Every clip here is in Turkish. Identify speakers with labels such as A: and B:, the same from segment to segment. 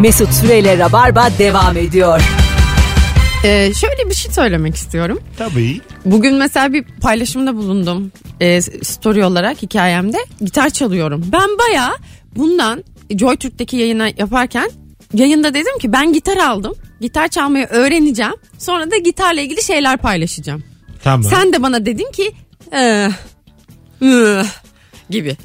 A: Mesut Süreyle Rabarba devam ediyor.
B: Ee, şöyle bir şey söylemek istiyorum.
C: Tabii.
B: Bugün mesela bir paylaşımda bulundum. Ee, story olarak hikayemde gitar çalıyorum. Ben baya bundan Joy Türk'teki yayına yaparken yayında dedim ki ben gitar aldım. Gitar çalmayı öğreneceğim. Sonra da gitarla ilgili şeyler paylaşacağım.
C: Tamam.
B: Sen de bana dedin ki "Eh, eh," gibi.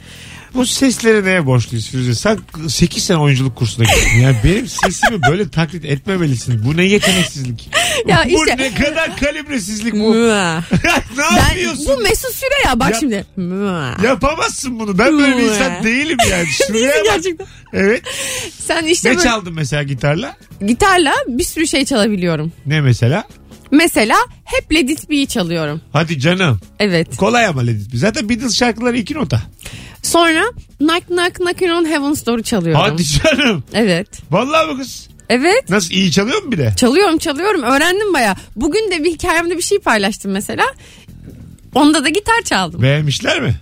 C: Bu seslere neye borçluyuz Firuze? Sen 8 sene oyunculuk kursuna gittin. Yani benim sesimi böyle taklit etmemelisin. Bu ne yeteneksizlik?
B: Ya
C: bu
B: işte-
C: ne kadar kalibresizlik bu?
B: Eh.
C: ne
B: Ben,
C: yapıyorsun?
B: bu Mesut Süre ya bak
C: Ya-
B: şimdi. Eh.
C: Yapamazsın bunu. Ben böyle bir insan değilim yani. Şuraya
B: Değilsin
C: bak.
B: gerçekten.
C: Evet.
B: Sen işte
C: Ne
B: böyle-
C: çaldın mesela gitarla?
B: gitarla bir sürü şey çalabiliyorum.
C: Ne mesela?
B: Mesela hep Let It Be'yi çalıyorum.
C: Hadi canım.
B: Evet.
C: Kolay ama Ledit. Zaten Beatles şarkıları iki nota.
B: Sonra Knock Knock Knockin' on Heaven's Door'u çalıyorum.
C: Hadi canım.
B: Evet.
C: Vallahi bu kız.
B: Evet.
C: Nasıl iyi çalıyor mu bir de?
B: Çalıyorum çalıyorum öğrendim baya. Bugün de bir hikayemde bir şey paylaştım mesela. Onda da gitar çaldım.
C: Beğenmişler mi?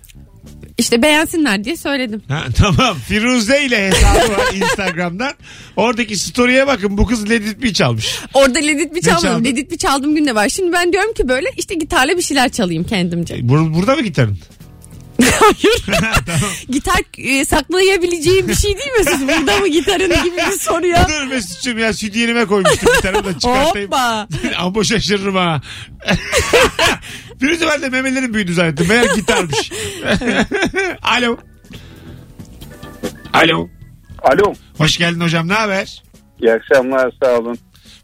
B: İşte beğensinler diye söyledim.
C: Ha, tamam. Firuze ile hesabı var Instagram'dan. Oradaki story'e bakın. Bu kız Let It Be çalmış.
B: Orada ledit bir
C: çaldın?
B: çalmadım. Ledit bir çaldım gün de var. Şimdi ben diyorum ki böyle işte gitarla bir şeyler çalayım kendimce.
C: Bur- burada mı gitarın?
B: Gitar e, saklayabileceğim bir şey değil mi siz? Burada mı gitarın gibi bir soru ya.
C: Dur Mesut'cum ya sütü yerime koymuştum gitarımı da çıkartayım.
B: Hoppa.
C: Ama şaşırırım ha. Firuze ben de memelerim büyüdü zannettim. Meğer gitarmış. Alo. Alo.
D: Alo.
C: Hoş geldin hocam. Ne haber?
D: İyi akşamlar sağ olun.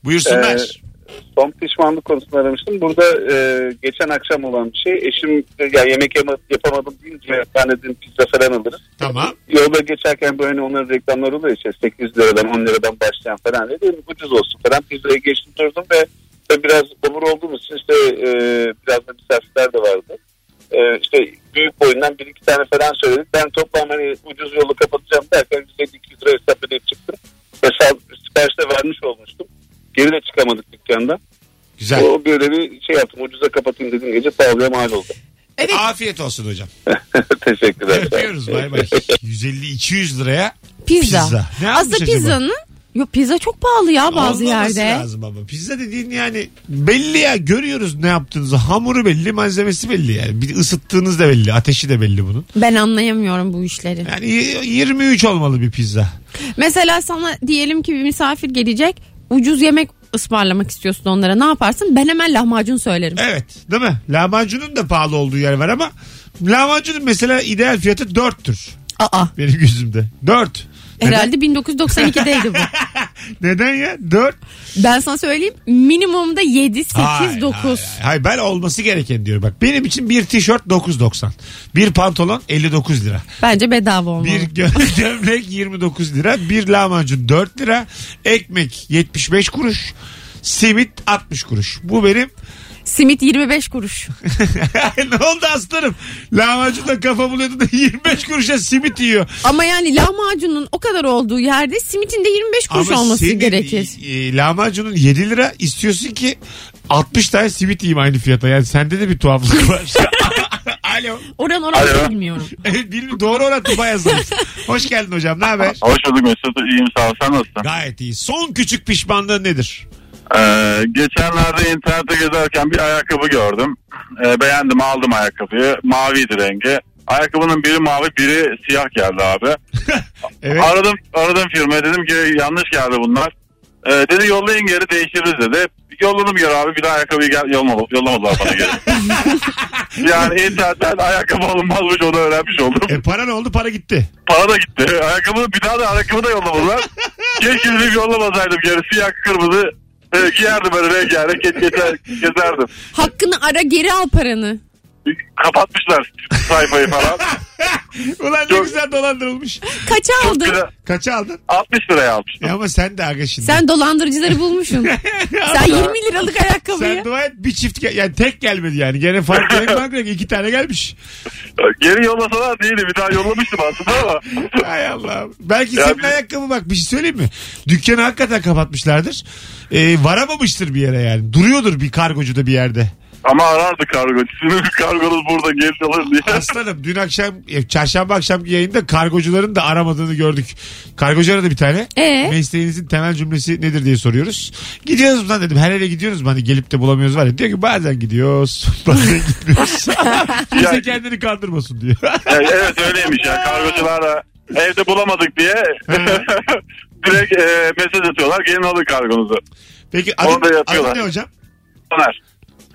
C: Buyursunlar.
D: Ee, son pişmanlık konusunu aramıştım. Burada e, geçen akşam olan bir şey. Eşim e, ya yemek yama- yapamadım deyince ben dedim pizza falan alırız.
C: Tamam.
D: Yolda geçerken böyle hani onların reklamları oluyor işte 8 liradan 10 liradan başlayan falan dedim ucuz olsun falan pizzaya geçtim durdum ve ve biraz obur olduğumuz için işte e, biraz da misafirler de vardı. E, işte büyük boyundan bir iki tane falan söyledik. Ben toplam hani ucuz yolu kapatacağım derken 200 lira hesap ödeyip çıktım. Ve sal- siparişte vermiş olmuştum. Geri de çıkamadık dükkandan.
C: Güzel.
D: O böyle bir şey yaptım ucuza kapatayım dedim gece pahalıya mal oldu.
B: Evet.
C: Afiyet olsun hocam.
D: Teşekkürler.
C: Öpüyoruz bay bay. 150-200 liraya
B: Pizza.
C: Pizza. Ne
B: Aslında
C: yapmış acaba?
B: pizzanın Yo, pizza çok pahalı ya bazı
C: Olmaması
B: yerde.
C: lazım ama. Pizza dediğin yani belli ya görüyoruz ne yaptığınızı. Hamuru belli malzemesi belli yani. Bir ısıttığınız da belli. Ateşi de belli bunun.
B: Ben anlayamıyorum bu işleri.
C: Yani y- 23 olmalı bir pizza.
B: Mesela sana diyelim ki bir misafir gelecek. Ucuz yemek ısmarlamak istiyorsun onlara. Ne yaparsın? Ben hemen lahmacun söylerim.
C: Evet değil mi? Lahmacunun da pahalı olduğu yer var ama lahmacunun mesela ideal fiyatı 4'tür.
B: Aa.
C: Benim gözümde. 4.
B: Herhalde 1992'deydi bu.
C: Neden ya? 4.
B: Ben sana söyleyeyim minimumda 7, 8, 9.
C: Hayır, hayır. ben olması gereken diyorum. Bak benim için bir tişört 9.90. Bir pantolon 59 lira.
B: Bence bedava olmalı.
C: Bir gö- gömlek 29 lira. Bir lahmacun 4 lira. Ekmek 75 kuruş. Simit 60 kuruş. Bu benim.
B: Simit 25 kuruş.
C: ne oldu aslanım? Lahmacunla kafa buluyordu da 25 kuruşa simit yiyor.
B: Ama yani lahmacunun o kadar olduğu yerde simitin de 25 kuruş olması
C: senin,
B: gerekir.
C: e, e, lahmacunun 7 lira istiyorsun ki 60 tane simit yiyeyim aynı fiyata. Yani sende de bir tuhaflık var. Alo.
B: Oran oranı
E: Alo.
B: bilmiyorum.
C: Bilmiyorum, doğru orantıma yazılmış. Hoş geldin hocam. Ne haber?
E: Hoş bulduk Mesut. İyiyim sağ ol. Sen nasılsın?
C: Gayet iyi. Son küçük pişmanlığın nedir?
E: Ee, geçenlerde internette gezerken bir ayakkabı gördüm. Ee, beğendim aldım ayakkabıyı. Maviydi rengi. Ayakkabının biri mavi biri siyah geldi abi.
C: Evet.
E: Aradım aradım firmaya dedim ki yanlış geldi bunlar. Ee, dedi yollayın geri değiştiririz dedi. Yolladım geri abi bir daha ayakkabıyı gel yollamadı, yollamadılar bana geri. yani internetten ayakkabı alınmazmış onu öğrenmiş oldum.
C: E para ne oldu? Para gitti.
E: Para da gitti. Ayakkabı bir daha da ayakkabı da yollamadılar. Keşke dedim yollamasaydım geri siyah kırmızı. E, giyerdim böyle rengarenk geç, geçer, gezerdim.
B: Hakkını ara geri al paranı.
E: Kapatmışlar sayfayı falan.
C: Ulan ne
E: Çok-
C: güzel dolandırılmış.
B: Kaça aldın?
E: Bir de
C: Kaça aldın?
E: 60 liraya almıştım.
C: Ya E ama sen de aga şimdi.
B: Sen dolandırıcıları bulmuşsun. Sen 20 liralık ayakkabıyı.
C: Sen dua et bir çift gel- yani tek gelmedi yani. Gene fark gerek fark yok. İki tane gelmiş.
E: Geri yollasalar değildi bir daha yollamıştım aslında ama.
C: Hay Allah. Belki
E: Ya
C: senin
E: biz-
C: ayakkabı bak bir şey söyleyeyim mi? Dükkanı E, hakikaten kapatmışlardır. Ee, varamamıştır bir yere yani. Duruyordur bir kargocuda bir yerde.
E: Ama arardı kargo. Sizin kargonuz burada geri alır diye.
C: Aslanım dün akşam e, çarşamba akşamki yayında kargocuların da aramadığını gördük. Kargocu aradı bir tane.
B: Ee?
C: Mesleğinizin temel cümlesi nedir diye soruyoruz. Gidiyoruz mu lan dedim. Her yere gidiyoruz mu? Hani gelip de bulamıyoruz var ya. Diyor ki bazen gidiyoruz. Bazen gitmiyoruz. Kimse
E: Ya-
C: kendini kandırmasın diyor.
E: Ya, evet öyleymiş ya. Kargocular da evde bulamadık diye direkt e, mesaj atıyorlar. Gelin alın kargonuzu.
C: Peki
E: Onu da
C: adı,
E: yapıyorlar.
C: adı ne hocam?
E: Soner.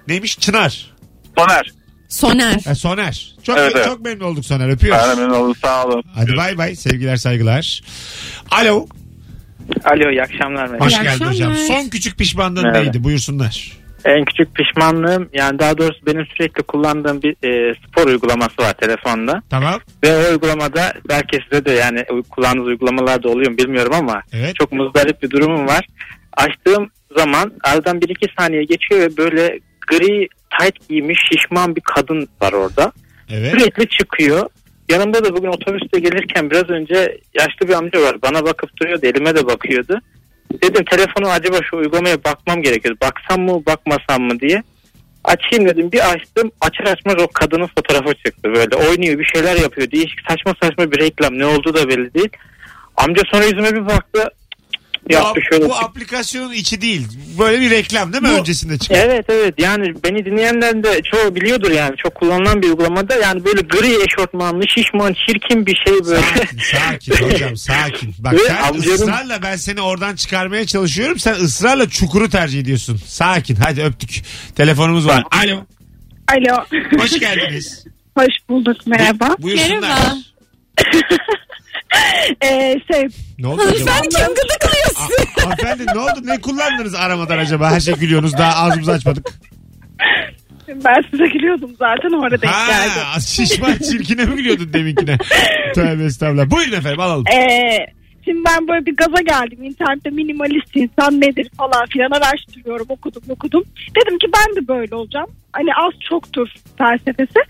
C: Neymiş? Çınar.
E: Soner.
B: Soner.
C: Ha, Soner. Çok,
E: Evet, evet.
C: çok memnun olduk Soner. Öpüyoruz.
E: Ben memnun oldum. Sağ olun.
C: Hadi bay bay. Sevgiler saygılar. Alo.
F: Alo iyi akşamlar. merhaba.
C: Hoş
B: İyi
C: geldin hocam.
B: akşamlar.
C: Son küçük pişmanlığın
F: Merhaba.
C: neydi? Buyursunlar.
F: En küçük pişmanlığım yani daha doğrusu benim sürekli kullandığım bir e, spor uygulaması var telefonda.
C: Tamam.
F: Ve o uygulamada belki size de yani u- kullandığınız uygulamalar da oluyor mu bilmiyorum ama
C: Evet.
F: çok muzdarip bir durumum var. Açtığım zaman aradan 1-2 saniye geçiyor ve böyle gri tight giymiş şişman bir kadın var orada.
C: Evet.
F: Sürekli çıkıyor. Yanımda da bugün otobüste gelirken biraz önce yaşlı bir amca var. Bana bakıp duruyordu. Elime de bakıyordu. Dedim telefonu acaba şu uygulamaya bakmam gerekiyor. Baksam mı bakmasam mı diye. Açayım dedim. Bir açtım. Açar açmaz o kadının fotoğrafı çıktı böyle. Oynuyor bir şeyler yapıyor. Değişik saçma saçma bir reklam. Ne olduğu da belli değil. Amca sonra yüzüme bir baktı.
C: Bu, ap-
F: Yaptı şöyle.
C: bu aplikasyonun içi değil. Böyle bir reklam değil mi?
F: Bu-
C: Öncesinde çıkan.
F: Evet evet yani beni dinleyenler de çoğu biliyordur yani çok kullanılan bir uygulamada yani böyle gri eşortmanlı şişman çirkin bir şey böyle.
C: Sakin, sakin hocam sakin. Bak
F: Ve
C: sen
F: amcanın-
C: ısrarla ben seni oradan çıkarmaya çalışıyorum. Sen ısrarla çukuru tercih ediyorsun. Sakin hadi öptük. Telefonumuz var. Alo.
G: Alo.
C: Hoş geldiniz.
G: Hoş bulduk. Merhaba.
C: Buyursunlar.
B: Merhaba.
G: Ee, şey,
C: Ne oldu acaba?
B: Hanımefendi kim gıdıklıyorsun?
C: A- Hanımefendi ne oldu? Ne kullandınız aramadan acaba? Her şey gülüyorsunuz. Daha ağzımızı açmadık.
G: ben size gülüyordum zaten orada denk geldim.
C: Ha, şişman çirkine mi gülüyordun deminkine? Tövbe estağfurullah. Buyurun efendim alalım.
G: Ee, şimdi ben böyle bir gaza geldim. İnternette minimalist insan nedir falan filan araştırıyorum. Okudum okudum. Dedim ki ben de böyle olacağım. Hani az çoktur felsefesi.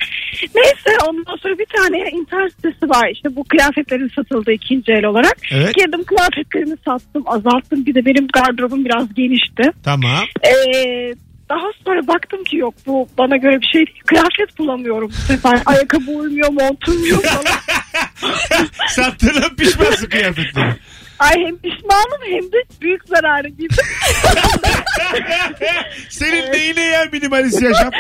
G: Neyse ondan sonra bir tane internet sitesi var. İşte bu kıyafetlerin satıldığı ikinci el olarak.
C: Evet.
G: Girdim kıyafetlerimi sattım azalttım. Bir de benim gardırobum biraz genişti.
C: Tamam.
G: Ee, daha sonra baktım ki yok bu bana göre bir şey değil. Kıyafet bulamıyorum bu sefer. Ayakkabı uymuyor, montum yok falan.
C: Sattığına pişmansın kıyafetleri.
G: Ay hem pişmanım hem de büyük zararı gibi.
C: Senin neyine ya minimalist yaşam?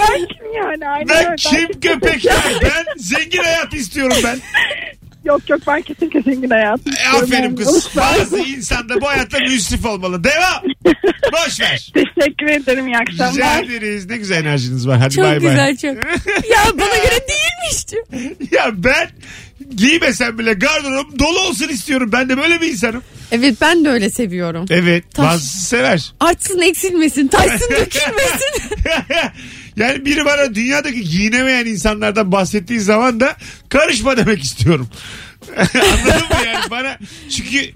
G: Ben kim yani? Aynen öyle.
C: Ben
G: Ben kimse-
C: kim köpek ya? Ben zengin hayat istiyorum ben.
G: Yok yok ben kesinlikle zengin hayatım.
C: E, aferin
G: istiyorum.
C: kız.
G: Ben-
C: Bazı insan da bu hayatta müsrif olmalı. Devam. Boş ver.
G: Teşekkür ederim iyi
C: Rica
G: akşamlar.
C: ederiz. Ne güzel enerjiniz var. Hadi
B: Çok
C: bay bay.
B: güzel, çok. ya bana göre değilmiş diyor.
C: Ya ben giymesem bile gardırobum dolu olsun istiyorum. Ben de böyle bir insanım.
B: Evet ben de öyle seviyorum.
C: Evet.
B: Taş-
C: Bazısı sever.
B: Artsın eksilmesin, taşsın dökülmesin.
C: yani biri bana dünyadaki giyinemeyen insanlardan bahsettiği zaman da karışma demek istiyorum. Anladın mı yani bana? Çünkü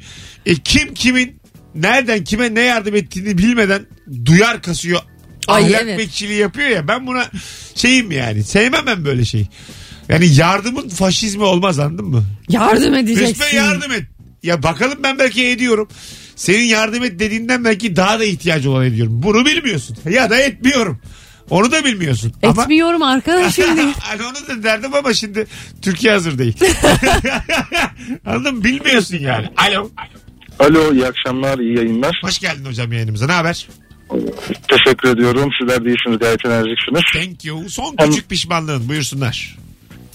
C: e, kim kimin nereden kime ne yardım ettiğini bilmeden duyar kasıyor.
B: Ay,
C: ahlak
B: evet.
C: bekçiliği yapıyor ya ben buna şeyim yani sevmem ben böyle şeyi. Yani yardımın faşizmi olmaz anladın mı?
B: Yardım edeceksin.
C: Resmen yardım et. Ya bakalım ben belki ediyorum. Senin yardım et dediğinden belki daha da ihtiyacı olan ediyorum. Bunu bilmiyorsun. Ya da etmiyorum. Onu da bilmiyorsun. Ama
B: Etmiyorum arkadaşım diye.
C: Hani onu da derdim ama şimdi Türkiye hazır değil. Anladın mı? Bilmiyorsun yani. Alo.
H: Alo iyi akşamlar iyi yayınlar.
C: Hoş geldin hocam yayınımıza. Ne haber?
H: Teşekkür ediyorum. Sizler de iyisiniz gayet enerjiksiniz.
C: Thank you. Son
H: Tamam.
C: küçük pişmanlığın. Buyursunlar.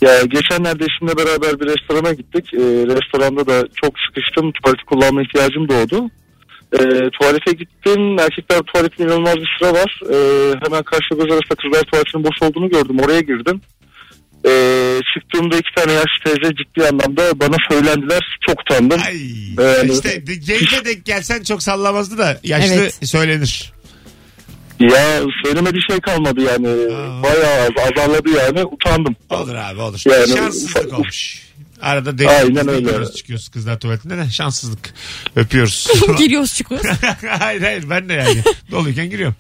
H: Ya geçenlerde eşimle beraber bir restorana gittik. Ee, restoranda da çok sıkıştım. Tuvalet kullanma ihtiyacım doğdu. Ee, tuvalete gittim. Erkekler tuvaletinde inanılmaz bir sıra var. Ee, hemen karşı göz arasında kızlar tuvaletinin boş olduğunu gördüm. Oraya girdim. Ee, çıktığımda iki tane yaşlı teyze ciddi anlamda bana söylendiler. Çok utandım. Ee,
C: Ay.
F: Ee,
H: Evet.
C: İşte gençle denk gelsen çok sallamazdı da yaşlı
B: Evet.
C: söylenir.
H: Ya söylemediği şey kalmadı yani.
C: Aa.
H: Bayağı azarladı yani. Utandım.
C: Olur abi olur.
H: Yani-
C: Şanssızlık olmuş. Arada
H: Aynen
C: denkliğimizde
H: öyle.
C: giriyoruz çıkıyoruz kızlar tuvaletinde de şanssızlık. Öpüyoruz.
B: Giriyoruz çıkıyoruz.
C: hayır hayır ben de yani. Doluyken giriyorum.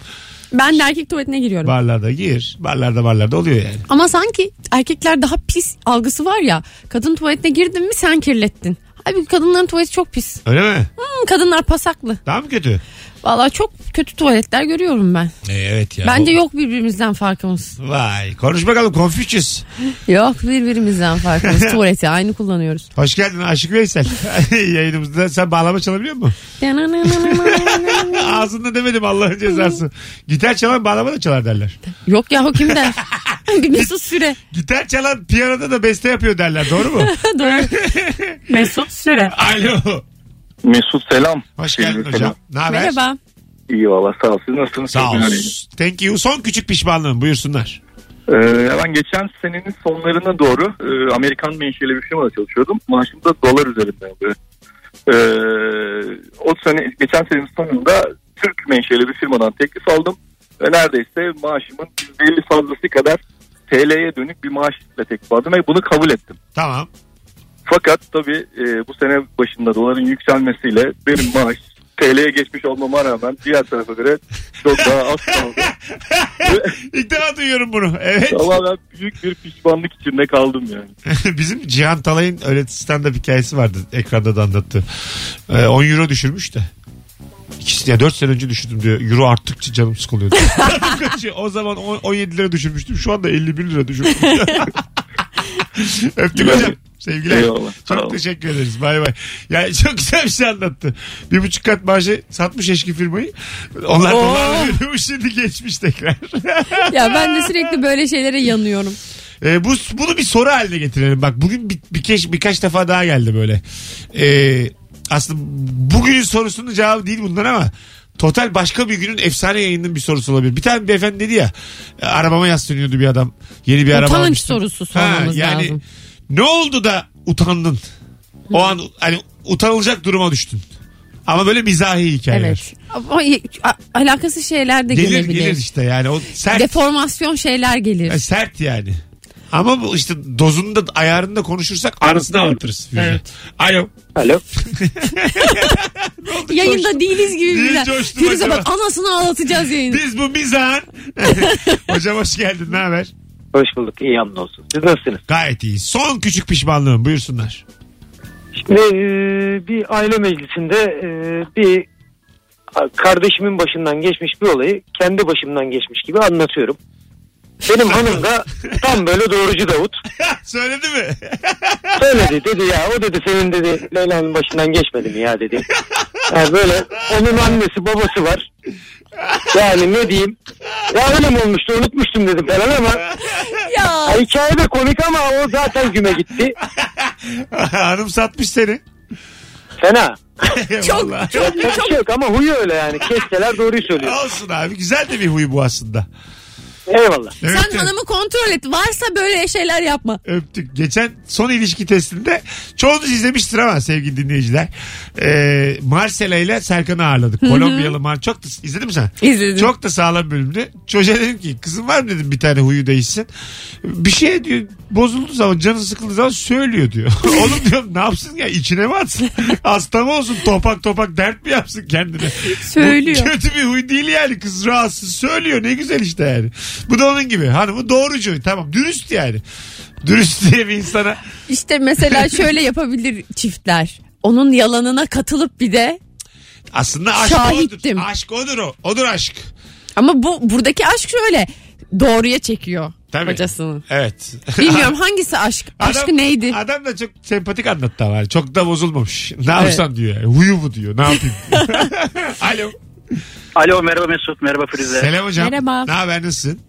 B: Ben de erkek tuvaletine giriyorum.
C: Barlarda gir. Barlarda barlarda oluyor yani.
B: Ama sanki erkekler daha pis algısı var ya. Kadın tuvaletine girdin mi sen kirlettin. Abi kadınların tuvaleti çok pis.
C: Öyle mi?
B: Hı, Kadınlar pasaklı.
C: Daha mı kötü?
B: Vallahi çok kötü tuvaletler görüyorum ben.
C: E, evet ya.
B: Bence yok birbirimizden farkımız.
C: Vay konuş bakalım Confucius.
B: Yok birbirimizden farkımız. Tuvaleti aynı kullanıyoruz.
C: Hoş geldin Aşık Veysel. Yayınımızda sen bağlama çalabiliyor musun? Ağzında demedim Allah'ın cezası. Gitar çalan bağlama da çalar derler.
B: yok ya o kim der? Bir Mesut Süre.
C: Gitar çalan piyanoda da beste yapıyor derler doğru mu?
B: Doğru.
I: Mesut Süre.
C: Alo.
H: Mesut selam.
C: Hoş geldin hocam. Ne haber?
B: Merhaba.
H: İyi valla sağ ol. Siz nasılsınız?
C: Sağ ol. Thank you. Son küçük pişmanlığım buyursunlar.
H: Ee, ya ben geçen senenin sonlarına doğru e, Amerikan menşeli bir firmada çalışıyordum. Maaşım da dolar üzerinde alıyor. Ee, o sene geçen senenin sonunda Türk menşeli bir firmadan teklif aldım. Ve neredeyse maaşımın %50 fazlası kadar TL'ye dönük bir maaşla teklif aldım ve bunu kabul ettim.
C: Tamam.
H: Fakat tabii e, bu sene başında doların yükselmesiyle benim maaş TL'ye geçmiş olmama rağmen diğer tarafa göre çok daha az kaldı.
C: İlk defa duyuyorum bunu. Evet.
H: Tamamen büyük bir pişmanlık içinde kaldım yani.
C: Bizim Cihan Talay'ın öyle stand-up hikayesi vardı. Ekranda da anlattı. Ee, 10 euro düşürmüş de. İkisi ya 4 sene önce düşürdüm diyor. Euro arttıkça canım sıkılıyordu. o zaman on- 17 lira düşürmüştüm. Şu anda 51 lira düşürmüştüm. Öptük hocam. Sevgiler.
H: Eyvallah. Sağ
C: Çok
H: olun.
C: teşekkür ederiz. Bay bay. Yani çok güzel bir şey anlattı. Bir buçuk kat maaşı satmış eşki firmayı. Onlar
B: Oo.
C: dolar veriyormuş şimdi geçmiş tekrar.
B: Ya ben de sürekli böyle şeylere yanıyorum.
C: Ee, bu bunu bir soru haline getirelim. Bak bugün bir, birkaç birkaç defa daha geldi böyle. Ee, aslında bugünün sorusunun cevabı değil bunlar ama total başka bir günün efsane yayının bir sorusu olabilir. Bir tane beyefendi dedi ya e, arabama yaslanıyordu bir adam. Yeni bir araba
B: Utanç
C: almıştım.
B: sorusu sormamız
C: yani,
B: lazım.
C: Ne oldu da utandın? O an hani utanılacak duruma düştün. Ama böyle mizahi hikayeler.
B: Evet. Ama a- alakasız şeyler de
C: Gelir
B: gelebilir.
C: gelir işte yani o sert
B: Deformasyon şeyler gelir.
C: E, sert yani. Ama bu işte dozunda ayarında konuşursak arasını anlatırız. Evet. Alo.
F: Alo.
B: Yayında değiliz gibi
C: Niye
B: biriler.
C: coştum
B: Firuze
C: acaba?
B: bak anasını ağlatacağız yayında.
C: Biz bu mizahın. Hocam hoş geldin. Ne haber?
F: Hoş bulduk. İyi yanın olsun. Siz nasılsınız?
C: Gayet iyi. Son küçük pişmanlığım buyursunlar.
F: Şimdi e, bir aile meclisinde e, bir kardeşimin başından geçmiş bir olayı kendi başımdan geçmiş gibi anlatıyorum. Benim hanım da tam böyle doğrucu Davut.
C: Söyledi mi?
F: Söyledi dedi ya o dedi senin dedi Leyla'nın başından geçmedi mi ya dedi. Yani böyle onun annesi babası var. Yani ne diyeyim. Ya öyle mi olmuştu unutmuştum dedim falan ama
B: Ya.
F: ya hikaye de komik ama o zaten güme gitti.
C: Hanım satmış seni.
F: Fena.
C: Çok,
F: Yapacak bir şey yok ama huyu öyle yani. Keşkeler doğruyu söylüyor.
C: Olsun abi. Güzel de bir huy bu aslında.
F: Eyvallah.
C: Evet,
B: Sen hanımı kontrol et. Varsa böyle şeyler yapma.
C: öptük. Geçen son ilişki testinde çoğunuz izlemiştir ama sevgili dinleyiciler. Ee, Marcela ile Serkan'ı ağırladık. Kolombiyalı Mar çok da izledin mi sen?
B: İzledim.
C: Çok da sağlam bölümdü. Çocuğa dedim ki kızım var mı dedim bir tane huyu değişsin. Bir şey diyor bozulduğu zaman canı sıkıldığı zaman söylüyor diyor. Oğlum diyorum ne yapsın ya içine mi atsın? Hasta mı olsun topak topak dert mi yapsın kendine?
B: Söylüyor.
C: Bu kötü bir huy değil yani kız rahatsız söylüyor ne güzel işte yani. Bu da onun gibi hanımı doğrucu tamam dürüst yani. Dürüst diye bir insana
B: İşte mesela şöyle yapabilir çiftler. Onun yalanına katılıp bir de
C: aslında aşk
B: Şahittim.
C: odur. Aşk odur o. Odur aşk.
B: ama bu buradaki aşk şöyle doğruya çekiyor
C: Tabii.
B: kocasını.
C: Evet.
B: Bilmiyorum hangisi aşk? Aşkı
C: Adam-
B: neydi?
C: Adam da çok sempatik anlattı ama. yani. Çok da bozulmamış. Ne yapsam diyor. Yani. Huyu bu diyor. Ne yapayım? Alo.
J: Alo merhaba Mesut merhaba Firuze.
C: Selam hocam.
B: Merhaba.
C: Ne haber nasılsın?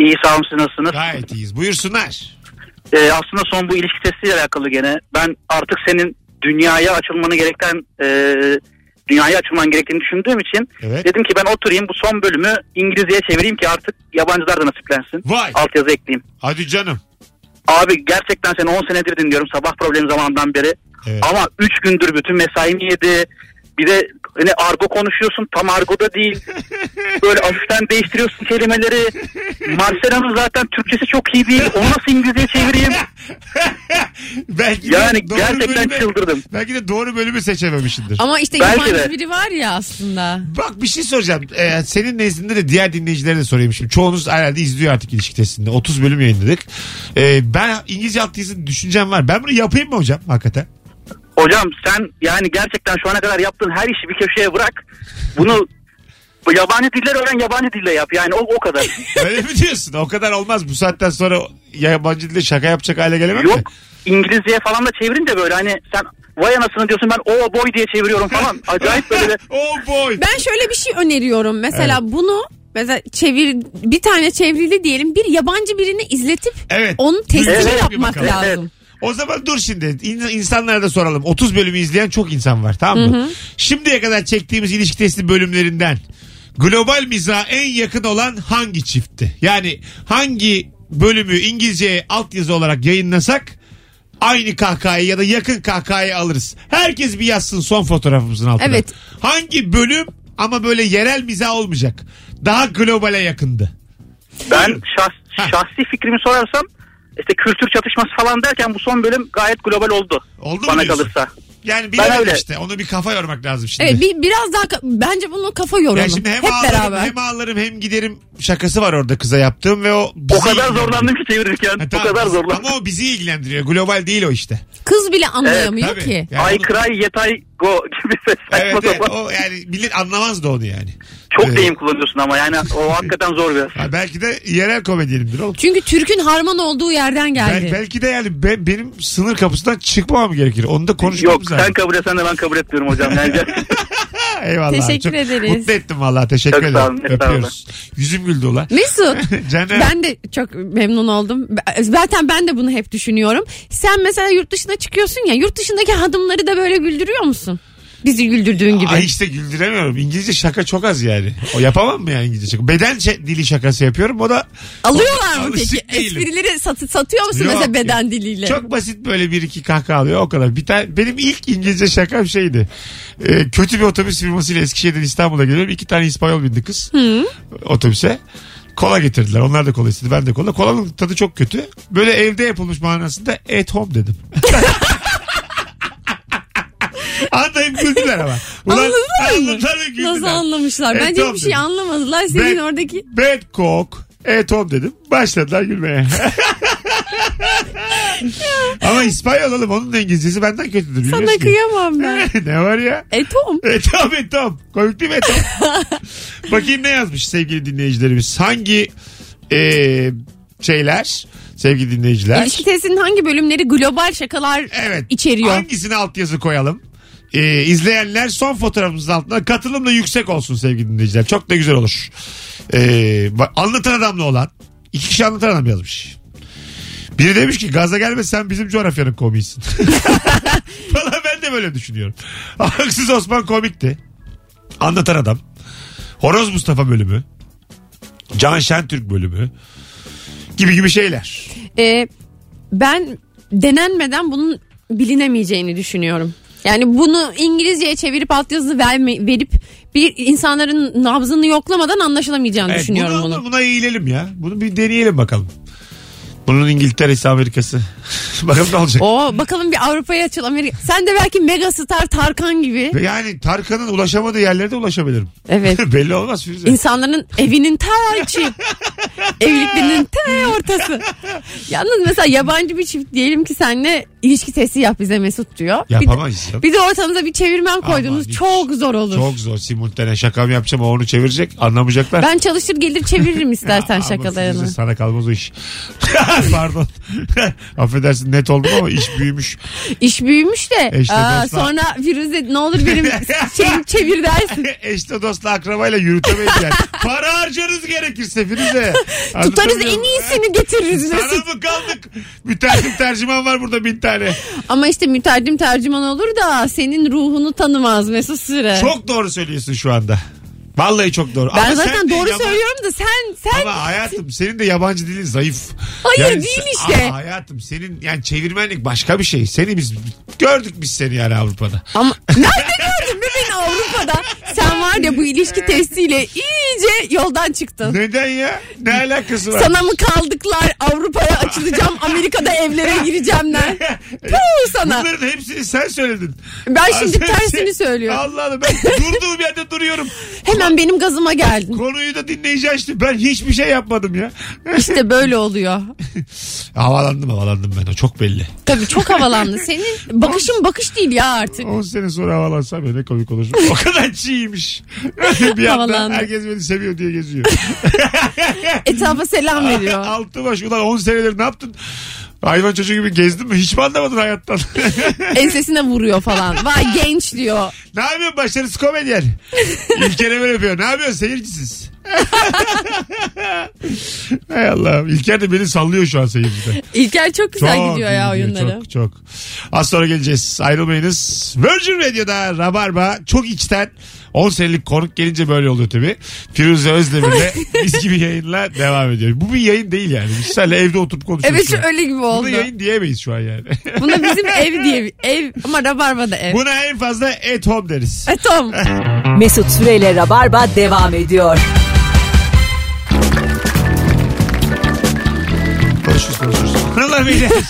J: İyi sağ olun siz nasılsınız?
C: Gayet iyiyiz. Buyursunlar.
J: Ee, aslında son bu ilişki testiyle alakalı gene. Ben artık senin dünyaya açılmanı gerekten e, dünyaya açılman gerektiğini düşündüğüm için
C: Evet.
J: dedim ki ben oturayım bu son bölümü İngilizceye çevireyim ki artık yabancılar da nasiplensin.
C: Vay.
J: Altyazı ekleyeyim.
C: Hadi canım.
J: Abi gerçekten seni 10 senedir dinliyorum sabah problemi zamanından beri.
C: Evet.
J: Ama 3 gündür bütün mesaimi yedi. Bir de hani argo konuşuyorsun tam argoda değil. Böyle hafiften değiştiriyorsun kelimeleri. Marcelo'nun zaten Türkçesi çok iyi değil. Onu nasıl İngilizceye çevireyim?
C: belki
J: Yani gerçekten çıldırdım.
C: Belki de doğru bölümü seçememişsindir.
B: Ama işte
J: Belki
B: yabancı
J: de.
B: biri var ya aslında.
C: Bak bir şey soracağım. Ee, senin nezdinde de diğer dinleyicilere de sorayım şimdi. Çoğunuz herhalde izliyor artık ilişki testinde. 30 bölüm yayınladık. Ee, ben İngilizce alt yazı düşüncem var. Ben bunu yapayım mı hocam hakikaten?
J: Hocam sen yani gerçekten şu ana kadar yaptığın her işi bir köşeye bırak. Bunu bu yabancı diller öğren yabancı dille yap. Yani o, o kadar.
C: Öyle mi diyorsun? O kadar olmaz. Bu saatten sonra yabancı dilde şaka yapacak hale gelemem mi?
J: Yok İngilizceye falan da çevirince böyle hani sen vay anasını diyorsun ben o boy diye çeviriyorum falan. Acayip böyle de
C: Oh boy.
B: Ben şöyle bir şey öneriyorum. Mesela bunu mesela çevir bir tane çevrili diyelim bir yabancı birini izletip
C: Evet.
B: onun testini
C: Evet, bir
B: yapmak
C: bakalım.
B: lazım.
C: O zaman dur şimdi İn- insanlara da soralım. 30 bölümü izleyen çok insan var tamam mı? Şimdiye kadar çektiğimiz ilişki testi bölümlerinden global miza en yakın olan hangi çiftti? Yani hangi bölümü İngilizceye altyazı olarak yayınlasak aynı kahkahayı ya da yakın kahkahayı alırız. Herkes bir yazsın son fotoğrafımızın altına.
B: Evet.
C: Hangi bölüm ama böyle yerel miza olmayacak. Daha globale yakındı.
J: ben şahs,
C: Ha.
J: şahsi fikrimi sorarsam işte kültür çatışması falan derken bu son bölüm gayet global oldu.
C: Oldu mu
J: Bana
C: diyorsun?
J: kalırsa.
C: Yani bilemedim
J: öyle.
C: işte. Onu bir kafa yormak lazım şimdi.
B: Evet bir, biraz daha ka- bence bunu kafa yoralım.
C: Ya şimdi hem
B: Hep
C: ağlarım
B: beraber.
C: hem ağlarım hem giderim şakası var orada kıza yaptığım ve o bizi
J: O kadar
C: ilgilendiriyor.
J: zorlandım ki çevirirken.
C: Ha,
J: o
C: tamam.
J: kadar zorlandım.
C: Ama o bizi ilgilendiriyor. Global değil o işte.
B: Kız bile anlayamıyor
C: Tabii.
B: ki.
C: Yani
J: I
C: onu-
J: cry yet I go gibi ses
C: Evet,
J: saçma
C: evet.
J: sapan.
C: o yani millet anlamaz da onu yani.
J: Çok
C: Evet.
J: deyim kullanıyorsun ama yani o hakikaten zor biraz.
C: Ha, belki de yerel komedyenimdir oğlum.
B: Çünkü Türk'ün harman olduğu yerden geldi.
C: Bel- belki de yani ben, benim sınır kapısından çıkmamam gerekir. Onu da
J: Yok
C: konuşmamız lazım.
J: sen kabul etsen de ben kabul etmiyorum hocam. Yani gerçekten
C: Eyvallah.
B: Teşekkür
C: Çok
B: ederiz.
C: Mutlu ettim vallahi. Teşekkür
J: Çok sağ olun,
C: ederim. Öpüyoruz. Yüzüm güldü ulan.
B: Mesut.
C: Canım.
B: Ben de çok memnun oldum. Ben- Zaten ben de bunu hep düşünüyorum. Sen mesela yurt dışına çıkıyorsun ya yurt dışındaki hadımları da böyle güldürüyor musun? Bizi güldürdüğün gibi.
C: Ay işte güldüremiyorum. İngilizce şaka çok az yani. O yapamam mı yani İngilizce şaka? Beden şe- dili şakası yapıyorum. O da
B: Alıyorlar mı
C: Alışık
B: peki?
C: değilim.
B: Esprileri satı, satıyor musun
C: Yok
B: mesela
C: ya.
B: beden diliyle?
C: Çok basit böyle bir iki kahkaha alıyor o kadar. Bir tane benim ilk İngilizce şakam şeydi. Ee, kötü bir otobüs firmasıyla Eskişehir'den İstanbul'a geliyorum. İki tane İspanyol bindi kız otobüse. Kola getirdiler. Onlar da kola istedi. Ben de kola. Kolanın tadı çok kötü. Böyle evde yapılmış manasında at home dedim. Anlayıp güldüler ama. Ulan,
B: Anladılar mı?
C: Anladılar ve güldüler.
B: Nasıl anlamışlar?
C: E,
B: Bence
C: tamam
B: hiçbir şey
C: dedim.
B: anlamadılar. Senin
C: Ben-
B: oradaki
C: Bad coke. E Tom dedim. Başladılar gülmeye. Ama İspanyol oğlum onun da İngilizcesi benden kötüdür.
B: sana
C: biliyorsun.
B: kıyamam ben.
C: ne var ya?
B: e Tom.
C: E Tom e Tom. Komik değil mi e Tom? Bakayım ne yazmış sevgili dinleyicilerimiz. Hangi e, şeyler sevgili dinleyiciler?
B: İlişki testinin hangi bölümleri global şakalar
C: Evet.
B: içeriyor?
C: Hangisine altyazı koyalım? Ee, izleyenler son fotoğrafımızın altına katılım da yüksek olsun sevgili dinleyiciler. Çok da güzel olur. Ee, ba- anlatan adamla olan. iki kişi anlatan adam yazmış. Biri demiş ki gaza gelme sen bizim coğrafyanın komiğisin. Valla ben de böyle düşünüyorum. Haksız Osman komikti. Anlatan adam. Horoz Mustafa bölümü. Can Şentürk bölümü. Gibi gibi şeyler.
B: Ee, ben denenmeden bunun bilinemeyeceğini düşünüyorum. Yani bunu İngilizceye çevirip altyazı verme, verip bir insanların nabzını yoklamadan anlaşılamayacağını
C: Evet,
B: düşünüyorum bunu.
C: Buna, E, buna eğilelim ya. Bunu bir deneyelim bakalım. Bunun İngiltere'si Amerika'sı. bakalım ne olacak.
B: Oo, bakalım bir Avrupa'ya açıl Amerika. Sen de belki megastar Tarkan gibi.
C: Ve Yani Tarkan'ın ulaşamadığı yerlerde ulaşabilirim.
B: Evet.
C: Belli olmaz Firuze.
B: İnsanların evinin ta içi. Evliliklerinin ta ortası. Yalnız mesela yabancı bir çift diyelim ki senle ilişki testi yap bize Mesut diyor. Bir de,
C: Yapamayız ya.
B: bir de ortamıza bir çevirmen koydunuz.
C: Aman hiç.
B: Çok zor olur.
C: Çok zor. Simultane şakam yapacağım o onu çevirecek. Anlamayacaklar.
B: Ben çalışır gelir çeviririm istersen
C: Ama
B: şakalarını.
C: Firuze, sana kalmaz o iş. Pardon. Affedersin net oldum ama iş büyümüş.
B: İş büyümüş de.
C: İşte
B: aa,
C: dostlar.
B: sonra Firuze ne olur benim şeyimi çevir dersin.
C: Eşte dostla akrabayla yürütemeyiz yani. Para harcarız gerekirse Firuze.
B: Tutarız
C: Anlatabiliyor
B: en
C: muyum?
B: iyisini getiririz Mesut.
C: Sana mı kaldık? Mütercim tercüman var burada bin tane.
B: Ama işte mütercim tercüman olur da senin ruhunu tanımaz Mesut Süre.
C: Çok doğru söylüyorsun şu anda. Vallahi çok doğru.
B: ben
C: Ama sen
B: zaten
C: de
B: doğru
C: yaban-
B: söylüyorum da sen sen
C: Ama hayatım senin de yabancı dilin zayıf.
B: Hayır, değil
C: sen-
B: işte.
C: Ama hayatım senin yani çevirmenlik başka bir şey. Seni biz gördük biz seni yani Avrupa'da.
B: Ama nerede gördün be beni Avrupa'da? Sen var var ya bu ilişki testiyle iyice yoldan çıktın.
C: Neden ya? Ne alakası var?
B: Sana mı kaldıklar Avrupa'ya açılacağım Amerika'da evlere gireceğimler. Puh
C: E,
B: sana.
C: Bunların hepsini sen söyledin.
B: Ben şimdi
C: Sen-
B: tersini söylüyorum.
C: Allah Allah ben durduğum yerde duruyorum.
B: Hemen benim gazıma geldin.
C: Konuyu da dinleyici açtı. Ben hiçbir şey yapmadım ya.
B: İşte böyle oluyor.
C: havalandım havalandım ben o çok belli.
B: Tabii çok havalandı. Senin bakışın bakış değil ya artık.
C: 10 sene sonra havalansam ya ne komik olur. O kadar çiğmiş. bir yandan
B: Havalandım.
C: herkes beni seviyor diye geziyor.
B: Etrafa selam veriyor.
C: Altı baş ulan 10 senedir ne yaptın? Hayvan çocuğu gibi gezdin mi? Hiç mi anlamadın hayattan?
B: Ensesine vuruyor falan. Vay genç diyor.
C: ne yapıyorsun başarısız komedyen? İlker Emel öpüyor. Ne yapıyorsun seyircisiz? Hay Allah'ım. İlker de beni sallıyor şu an seyirciden.
B: İlker çok güzel gidiyor ya
C: iyi gidiyor,
B: oyunları.
C: Çok çok. Az sonra geleceğiz. Ayrılmayınız. Virgin Radio'da Rabarba çok içten 10 senelik konuk gelince böyle oluyor tabii. Firuze Özdemir'le biz gibi yayınla devam ediyor. Bu bir yayın değil yani. Biz seninle evde oturup konuşuyoruz.
B: Evet
C: şu an.
B: öyle gibi oldu.
C: Bunu yayın diyemeyiz şu an yani.
B: Buna bizim ev diye bir- ev ama Rabarba'da ev.
C: Buna en fazla at home deriz.
B: E tamam.
K: Mesut Süreyle Rabarba devam ediyor.
C: Konuşuruz konuşuruz. Hanımlar beyler.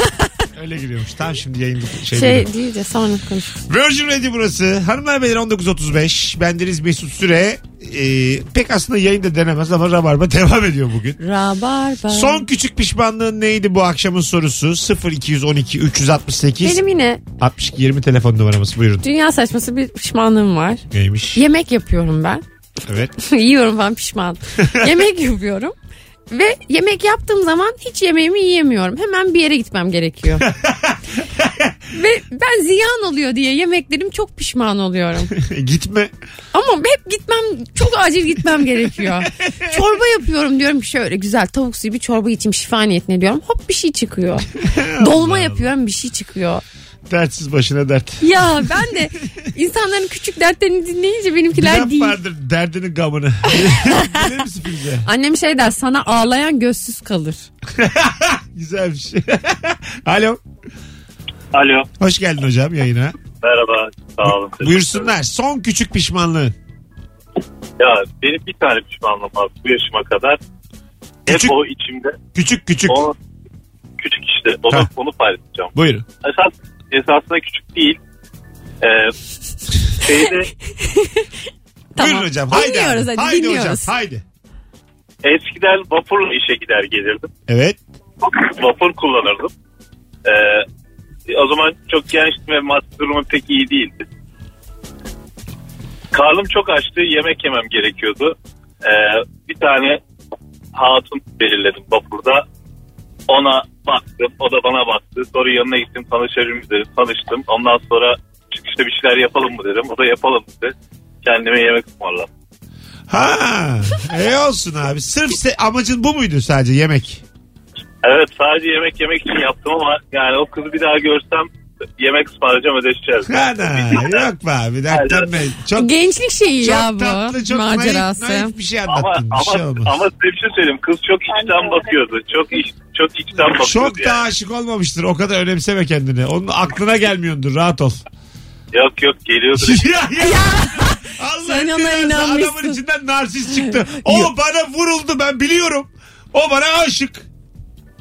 C: Öyle giriyormuş. Tam şimdi yayın şey,
B: Şey değil de sonra konuşuruz.
C: Virgin Radio burası. Hanımlar beyler 19.35. Bendeniz Mesut Süre. Ee, pek aslında yayında denemez ama Rabarba devam ediyor bugün.
B: Rabarba.
C: Son küçük pişmanlığın neydi bu akşamın sorusu? 0212 368
B: Benim yine
C: 62 20 telefon numaramız. Buyurun.
B: dünya saçması bir pişmanlığım var.
C: Neymiş?
B: Yemek yapıyorum ben.
C: Evet.
B: Yiyorum falan pişman. yemek yapıyorum. Ve yemek yaptığım zaman hiç yemeğimi yiyemiyorum. Hemen bir yere gitmem gerekiyor. Ve ben ziyan oluyor diye yemeklerim çok pişman oluyorum.
C: Gitme.
B: Ama hep gitmem çok acil gitmem gerekiyor. çorba yapıyorum diyorum şöyle güzel tavuk suyu bir çorba içeyim şifa niyetine diyorum. Hop bir şey çıkıyor. Dolma yapıyorum bir şey çıkıyor.
C: Dertsiz başına dert.
B: Ya ben de insanların küçük dertlerini dinleyince
C: Bir
B: benimkiler
C: laf
B: değil.
C: vardır derdini gamını. Bilir misin Firuze?
B: Annem şey der sana ağlayan gözsüz kalır.
C: Güzel bir şey. Alo.
L: Alo.
C: Hoş geldin hocam yayına.
L: Merhaba. Sağ olun.
C: Buyursunlar. Son küçük pişmanlığı.
L: Ya benim bir tane pişmanlığım var bu yaşıma kadar.
C: Küçük-
L: Hep o içimde.
C: Küçük küçük.
L: O küçük işte. Onu,
C: Ha.
L: onu paylaşacağım.
C: Buyurun.
L: Esas, esasında küçük değil. Ee, şeyde
C: Buyurun hocam. Haydi.
B: Dinliyoruz
C: abi.
B: hadi
C: haydi hocam.
B: dinliyoruz.
C: Haydi.
L: eskiden vapurla işe gider gelirdim.
C: Evet.
L: Vapur kullanırdım. Ee, o zaman çok gençtim ve maddi durumum pek iyi değildi. Karnım çok açtı. Yemek yemem gerekiyordu. Ee, bir tane hatun belirledim vapurda. Ona baktım. O da bana baktı. Sonra yanına gittim. Tanışalım mı dedim. Tanıştım. Ondan sonra çıkışta bir şeyler yapalım mı dedim. O da yapalım dedi. Kendime yemek ısmarladım.
C: Ha. E olsun abi. Sırf se- amacın bu muydu sadece yemek?
L: Evet sadece yemek yemek için yaptım ama yani o kızı bir daha görsem yemek ısmarlayacağım ödeşeceğiz.
C: Ana. Yok be abi. Dertten be. Çok
B: Gençlik şeyi
C: Çok
B: ya bu
C: tatlı, çok
B: macerası.
C: naif, naif bir şey
L: Ama
C: anlattın. bir
L: ama
C: şey olmaz.
L: ama size bir şey söyleyeyim. Kız çok içten bakıyordu. Çok iç, çok içten bakıyordu.
C: çok da
L: yani.
C: aşık olmamıştır. O kadar önemseme kendini. Onun aklına gelmiyordur. Rahat ol.
L: Yok yok geliyordu.
C: ya, ya. Allah
B: Sen ona inanmışsın.
C: Adamın içinden narsist çıktı. O bana vuruldu ben biliyorum. O bana aşık.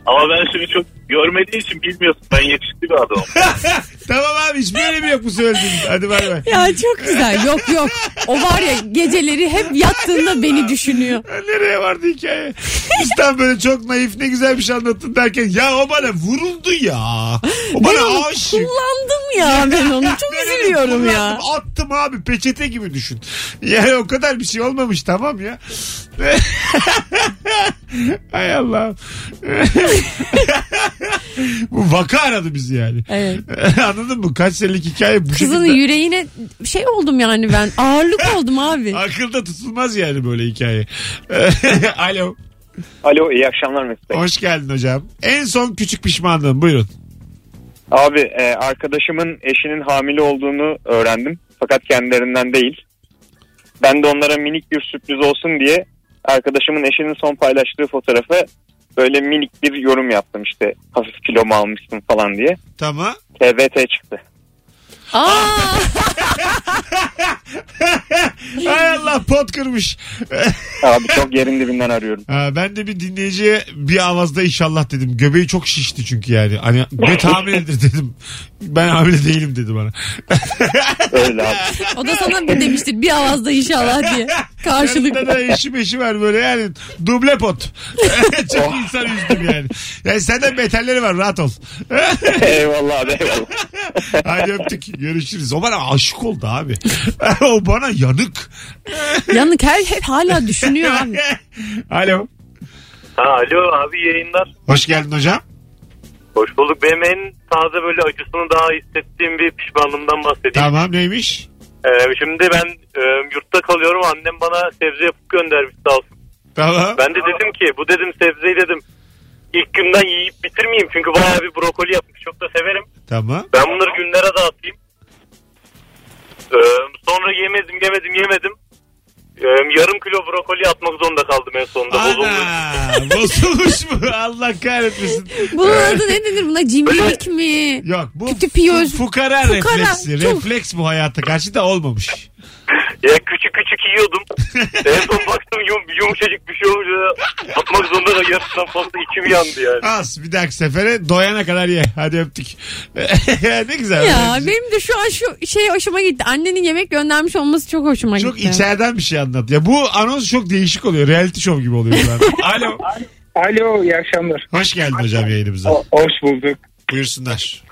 L: ama ben şimdi çok görmediği için bilmiyorsun. Ben yakışıklı bir adamım.
C: tamam abi hiçbir önemi yok bu söylediğiniz. Hadi bay bay.
B: Ya çok güzel. Yok yok. O var ya geceleri hep yattığında beni düşünüyor.
C: Nereye vardı hikaye? Üstten böyle çok naif ne güzel bir şey anlattın derken ya o bana vuruldu ya. O
B: Ben onu
C: bana aşık.
B: kullandım ya ben onu. Çok
C: Ben onu
B: üzülüyorum ya.
C: kullandım, Attım abi peçete gibi düşün. Yani o kadar bir şey olmamış tamam ya. Hay Allah. Bu vaka aradı bizi yani.
B: Evet.
C: Anladın mı? Kaç senelik hikaye bu
B: Kızın
C: şekilde.
B: yüreğine şey oldum yani ben. Ağırlık oldum abi.
C: Akılda tutulmaz yani böyle hikaye. Alo.
M: Alo iyi akşamlar Mesut Bey.
C: Hoş geldin hocam. En son küçük pişmanlığın buyurun.
M: Abi e, arkadaşımın eşinin hamile olduğunu öğrendim. Fakat kendilerinden değil. Ben de onlara minik bir sürpriz olsun diye arkadaşımın eşinin son paylaştığı fotoğrafı böyle minik bir yorum yaptım işte. Hafif kilo mu almışsın falan diye.
C: Tamam.
M: TBT çıktı.
B: Aa,
C: Hay Allah Allah pot kırmış.
N: Abi çok yerin dibinden arıyorum.
C: Ha, ben de bir dinleyiciye bir avazda inşallah dedim. Göbeği çok şişti çünkü yani. Hani göt hamiledir dedim. Ben hamile değilim dedi bana.
N: Öyle abi.
B: O da sana bir demiştir bir avazda inşallah diye. Karşılık.
C: Yanında da eşi meşi var böyle yani. Duble pot. çok
N: Oh.
C: insan üzdüm yani. Yani senden beterleri var rahat ol.
N: eyvallah abi eyvallah.
C: Hadi öptük. Görüşürüz. O bana aşık oldu abi. o bana yanık.
B: Yanık her hep hala düşünüyor abi.
C: Alo.
L: Ha, alo abi yayınlar.
C: Hoş geldin hocam.
L: Hoş bulduk. Benim en taze böyle acısını daha hissettiğim bir pişmanlığımdan bahsedeyim.
C: Tamam neymiş?
L: Ee, şimdi ben e, yurtta kalıyorum. Annem bana sebze yapıp göndermiş sağ olsun.
C: Tamam.
L: Ben de dedim ki bu dedim sebzeyi dedim ilk günden yiyip bitirmeyeyim. Çünkü bayağı bir brokoli yapmış. Çok da severim.
C: Tamam.
L: Ben bunları günlere dağıtayım. Ee, sonra yemedim yemedim yemedim. Ee, yarım kilo brokoli atmak zorunda kaldım en sonunda. Bozuldu.
C: Ana bozulmuş mu? Allah kahretmesin.
B: Bunun adı ne denir buna? Cimrilik mi?
C: Yok bu
B: Kütüpiyöz.
C: fukara,
B: Fukara,
C: refleksi.
B: çok.
C: Refleks bu hayata karşı da olmamış.
L: Ya küçük küçük yiyordum. en son baktım yum, yumuşacık bir şey olunca atmak zorunda da yarısından fazla içim yandı yani.
C: Az bir dahaki sefere doyana kadar ye. Hadi öptük. ne güzel.
B: Ya benim de şu an şu şey hoşuma gitti. Annenin yemek göndermiş olması çok hoşuma
C: Çok
B: gitti.
C: içeriden bir şey anlat. Ya bu anons çok değişik oluyor. Reality show gibi oluyor. şu an. Alo.
M: Alo iyi akşamlar.
C: Hoş geldin hocam yayınımıza.
M: O- hoş bulduk.
C: Buyursunlar.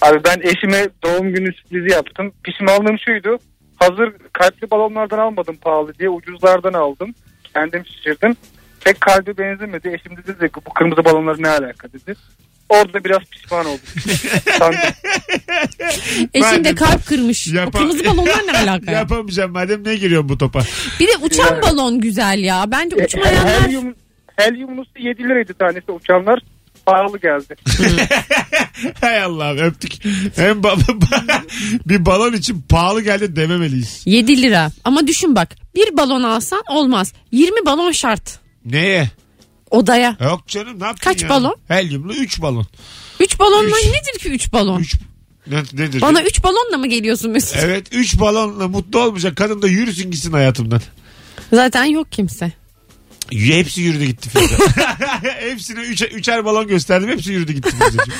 M: Abi ben eşime doğum günü sürprizi yaptım. Pişmanlığım şuydu. Hazır kalpli balonlardan almadım pahalı diye ucuzlardan aldım. Kendim şişirdim. Pek kalbe benzemedi. Eşim de dedi ki bu kırmızı balonlar ne alaka dedi. Orada biraz pişman oldum. Sandım.
B: Eşim de
C: Madem-
B: kalp kırmış. O
C: Yapa-
B: kırmızı balonlar ne alaka? ya?
C: Yapamayacağım madem ne giriyorsun bu topa?
B: Bir de uçan balon güzel ya. Bence uçmayanlar
M: helyum, helyumlusu 7 liraydı tanesi uçanlar. Pahalı geldi.
C: Hay Allah'ım öptük. Hem ba- ba- bir balon için pahalı geldi dememeliyiz.
B: 7 lira. Ama düşün bak. Bir balon alsan olmaz. 20 balon şart.
C: Neye?
B: Odaya.
C: Yok canım ne yaptın
B: Kaç
C: ya?
B: balon?
C: Helyumlu 3 balon.
B: 3 balonla
C: Üç.
B: nedir ki 3 balon?
C: Üç- Ne, nedir?
B: Bana 3 balonla mı geliyorsun Mesut?
C: Evet 3 balonla mutlu olmayacak kadın da yürüsün gitsin hayatımdan.
B: Zaten yok kimse.
C: Y- Hepsi yürüdü gitti Firuze. Hepsine üçe, üçer balon gösterdim. Hepsi yürüdü gitti Firuze'cim.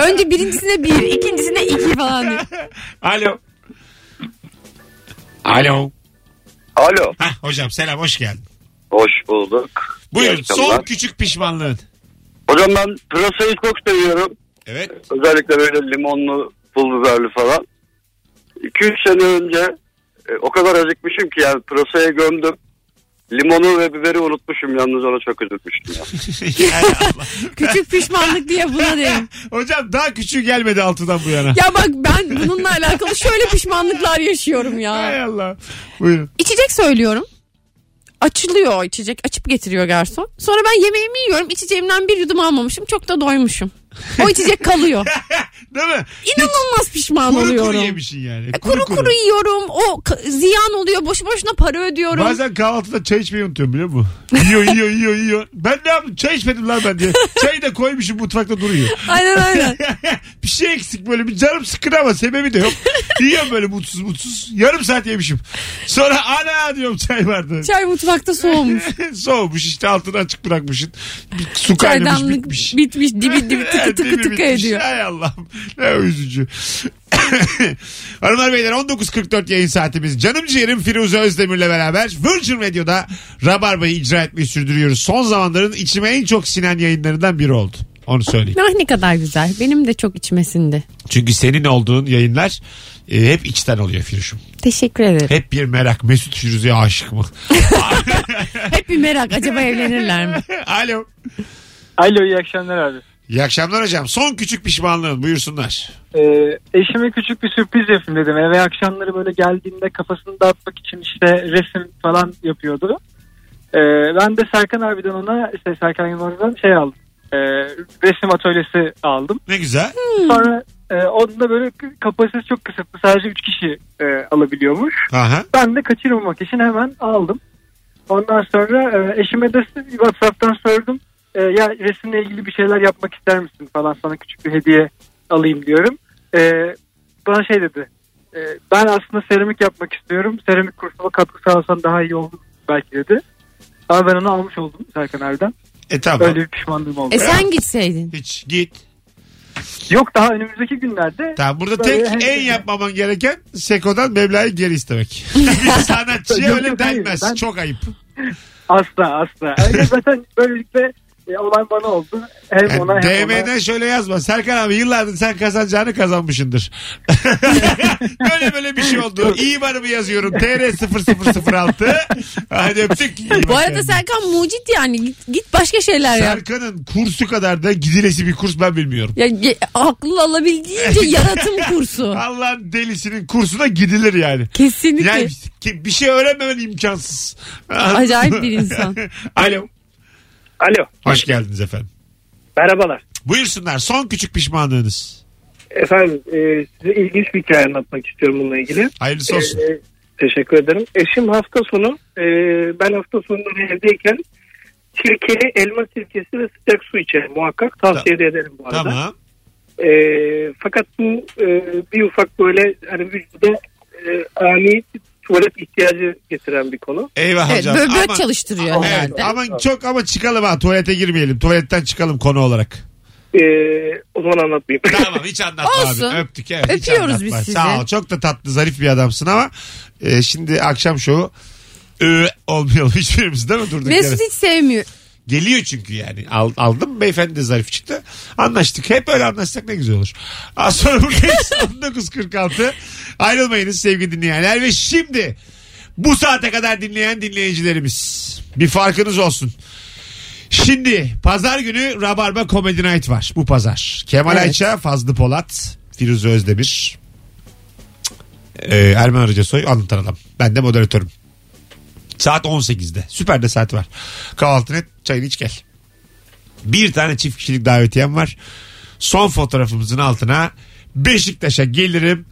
B: Önce birincisine bir, ikincisine iki falan diyor.
C: Alo. Alo.
O: Alo.
C: Hah, hocam selam hoş geldin.
O: Hoş bulduk.
C: Buyurun
O: İyi akşamlar.
C: son küçük pişmanlığın.
O: Hocam ben pırasayı çok seviyorum.
C: Evet.
O: Özellikle böyle limonlu, pul biberli falan. 2-3 sene önce e, o kadar acıkmışım ki yani pırasaya gömdüm. Limonu ve biberi unutmuşum yalnız ona çok üzülmüştüm. ya.
C: Yani Allah.
B: Küçük pişmanlık diye buna derim.
C: Hocam daha küçüğü gelmedi altıdan bu yana.
B: Ya bak ben bununla alakalı şöyle pişmanlıklar yaşıyorum
C: Hay
B: ya.
C: Allah. Buyurun.
B: İçecek söylüyorum. Açılıyor o içecek. Açıp getiriyor garson. Sonra ben yemeğimi yiyorum. İçeceğimden bir yudum almamışım. Çok da doymuşum. O içecek kalıyor.
C: Değil mi?
B: İnanılmaz pişman
C: Kuru
B: oluyorum.
C: kuru yemişsin yani.
B: E, Kuru kuru yiyorum. O k- ziyan oluyor. Boşu boşuna para ödüyorum.
C: Bazen kahvaltıda çay içmeyi unutuyorum biliyor musun? Yiyor yiyor yiyor yiyor. Ben ne yaptım? Çay içmedim lan ben diye. Çayı da koymuşum mutfakta duruyor.
B: Aynen aynen.
C: bir şey eksik böyle bir canım sıkkın ama sebebi de yok. Yiyorum böyle mutsuz mutsuz. Yarım saat yemişim. Sonra ana diyorum çay vardı.
B: Çay mutfakta soğumuş.
C: Soğumuş işte altını açık bırakmışsın. Bir su kaynamış
B: Çaydanlık
C: bitmiş.
B: bitmiş. Dibi dibi tıkı
C: Dibi
B: tıkı tıkı
C: bitmiş.
B: ediyor.
C: Hay Allah'ım. Ne üzücü. Hanımlar beyler 19.44 yayın saatimiz. Canım ciğerim Firuze Özdemir'le beraber Virgin Radio'da Rabarba'yı icra etmeyi sürdürüyoruz. Son zamanların içime en çok sinen yayınlarından biri oldu. Onu söyleyeyim.
B: Ah ne kadar güzel. Benim de çok içmesinde.
C: Çünkü senin olduğun yayınlar e, hep içten oluyor Firuş'um.
B: Teşekkür ederim.
C: Hep bir merak. Mesut Firuze'ye aşık mı?
B: Hep bir merak acaba evlenirler mi?
C: Alo.
M: Alo iyi akşamlar abi.
C: İyi akşamlar hocam. Son küçük pişmanlığın buyursunlar.
M: Ee, eşime küçük bir sürpriz yapayım dedim. Eve akşamları böyle geldiğimde kafasını dağıtmak için işte resim falan yapıyordu. Ee, ben de Serkan abiden ona işte Serkan Yılmaz'dan şey aldım. Ee, resim atölyesi aldım.
C: Ne güzel.
M: Sonra e, onun da böyle k- kapasitesi çok kısıtlı. Sadece 3 kişi e, alabiliyormuş.
C: Aha.
M: Ben de kaçırmamak için hemen aldım. Ondan sonra e, eşime de WhatsApp'tan sordum. E, ya resimle ilgili bir şeyler yapmak ister misin falan sana küçük bir hediye alayım diyorum. E, bana şey dedi. E, e, ben aslında seramik yapmak istiyorum. Seramik kursuna katkı sağlasan daha iyi olur belki dedi. Ama ben onu almış oldum Serkan Erden.
C: E tamam.
M: Öyle bir pişmanlığım oldu.
B: E sen gitseydin.
C: Hiç git.
M: Yok daha önümüzdeki günlerde.
C: Tamam burada
M: Böyle
C: tek
M: hani-
C: en yapmaman gereken Seko'dan meblağı geri istemek. Bir Sanatçıya
M: Yok,
C: öyle
M: yok, hayır.
C: denmez.
M: Ben-
C: Çok ayıp.
M: Asla asla. Yani zaten böylelikle e, olan bana oldu. Hem
C: Yani
M: ona hem
C: DM'den
M: ona.
C: şöyle yazma. Serkan abi yıllardır sen kazanacağını kazanmışsındır. böyle böyle bir şey oldu. İyi varımı yazıyorum. TR 0006. Hadi öptük. İyi bak
B: Bu arada
C: kendine.
B: Serkan mucit yani git, git başka şeyler yap.
C: Serkan'ın kursu kadar da gidilesi bir kurs ben bilmiyorum.
B: Ya ge- aklı alabildiğince yaratım kursu.
C: Allah'ın delisinin kursuna gidilir yani.
B: Kesinlikle.
C: Yani ki- bir şey öğrenmemen imkansız.
B: Acayip bir insan.
C: Alo.
P: Alo.
C: Hoş geldiniz efendim.
P: Merhabalar.
C: Buyursunlar son küçük pişmanlığınız.
P: Efendim e, size ilginç bir hikaye anlatmak istiyorum bununla ilgili.
C: Hayırlısı olsun.
P: E, teşekkür ederim. Eşim hafta sonu e, ben hafta sonları evdeyken sirkeli elma sirkesi ve sıcak su içerim muhakkak. Tavsiye de ederim bu arada.
C: Tamam.
P: E, fakat bu e, bir ufak böyle hani vücuda e, ani tuvalet ihtiyacı getiren bir konu.
C: Eyvah
B: Evet,
C: hocam.
B: böbrek
C: şey Ama-
B: çalıştırıyor
C: Evet,
B: herhalde.
C: aman çok ama çıkalım ha tuvalete girmeyelim. Tuvaletten çıkalım konu olarak.
P: E, o zaman anlatmayayım.
C: Tamam hiç anlatma
B: Olsun.
C: abi. Öptük evet. hiç
B: Öpüyoruz biz
C: anlatma.
B: sizi.
C: Sağ ol. Çok da tatlı zarif bir adamsın ama e, şimdi akşam şovu ö, olmayalım hiçbirimiz değil mi durduk yere?
B: Mesut hiç sevmiyor.
C: Geliyor çünkü yani. Al, aldım beyefendi de zarif çıktı. Anlaştık. Hep öyle anlaşsak ne güzel olur. Az sonra buradayız. 19.46. Ayrılmayınız sevgili dinleyenler. Ve şimdi bu saate kadar dinleyen dinleyicilerimiz. Bir farkınız olsun. Şimdi pazar günü Rabarba Comedy Night var bu pazar. Kemal Ayça, Fazlı Polat, Firuze Özdemir, ee, Ermen Arıcasoy anlatan adam. Ben de moderatörüm. Saat 18'de. Süper de saat var. Kahvaltını et, çayını iç gel. Bir tane çift kişilik davetiyem var. Son fotoğrafımızın altına Beşiktaş'a gelirim.